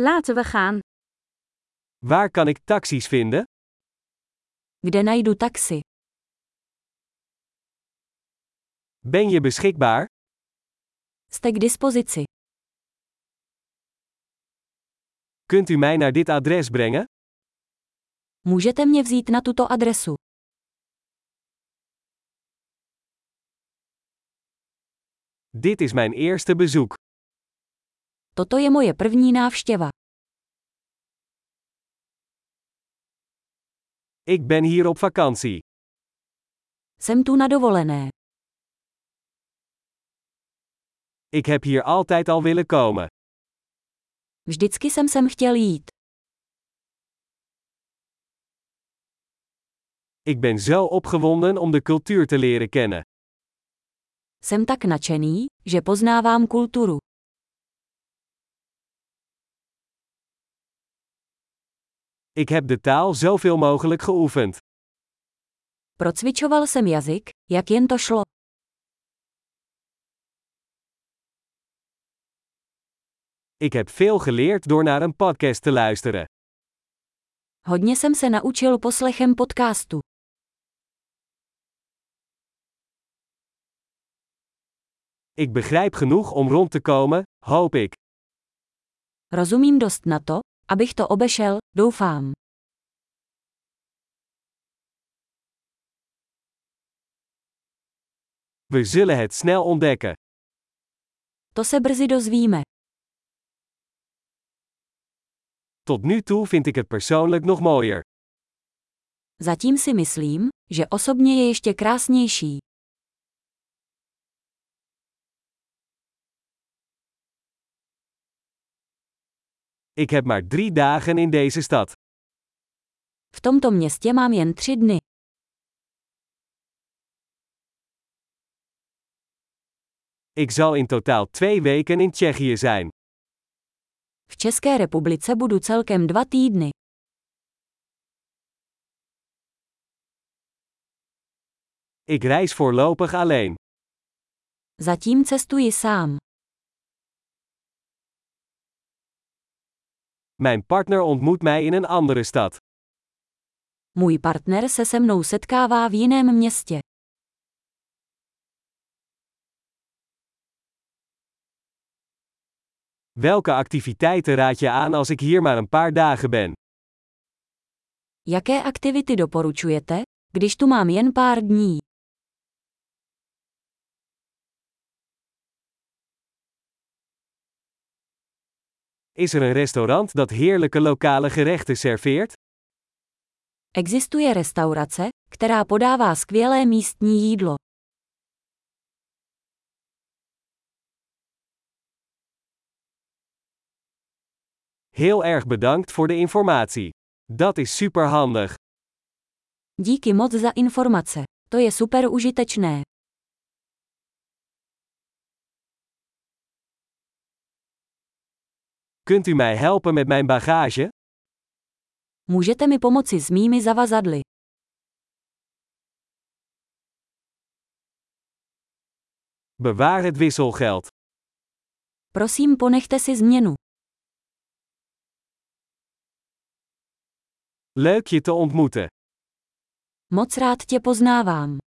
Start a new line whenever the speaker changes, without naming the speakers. Laten we gaan.
Waar kan ik taxis vinden?
Kde najdu taxi?
Ben je beschikbaar?
Jste k dispozici.
Kunt u mij naar dit adres brengen?
Můžete mě vzít na tuto adresu.
Dit is mijn eerste bezoek.
Toto je moje první návštěva.
Ik ben hier op vakantie.
Jsem tu na dovolené.
Ik heb hier altijd al willen komen.
Vždycky jsem sem chtěl jít.
Ik ben zo opgewonden om de cultuur te leren kennen.
Jsem tak nadšený, že poznávám kulturu.
Ik heb de taal zoveel mogelijk geoefend.
Procvičoval jsem jazyk, jak jen to šlo.
Ik heb veel geleerd door naar een podcast te luisteren.
Hodně jsem se naučil poslechem podcastu.
Ik begrijp genoeg om rond te komen, hoop ik.
Rozumím dost na to, abych to obešel, doufám.
We zullen het snel ontdekken.
To se brzy dozvíme.
Tot nu toe vind ik het persoonlijk nog mooier.
Zatím si myslím, že osobně je ještě krásnější.
Ik heb maar drie dagen in deze stad.
V tomto městě mám jen tři dny.
Ik zal in totaal twee weken in Tsjechië zijn.
V České republice budu celkem dva týdny.
Ik reis voorlopig alleen.
Zatím cestuji sám.
Mijn partner ontmoet mij in een andere stad.
Můj partner se se mnou setkává v jiném městě.
Welke activiteiten raad je aan als ik hier maar een paar dagen ben?
Jaké aktivity doporučujete, když tu mám jen pár dní?
Is er een restaurant dat heerlijke lokale gerechten serveert?
Existuje restaurace, která podává skvělé místní jídlo.
Heel erg bedankt voor de informatie. Dat is superhandig.
Díky moc za informace. To je super užitečné.
Kunt u mij helpen met mijn bagage?
Můžete mi pomoci s mými zavazadly.
Bewaar het wisselgeld.
Prosím, ponechte si změnu.
Leuk je te ontmoeten.
Moc rád tě poznávám.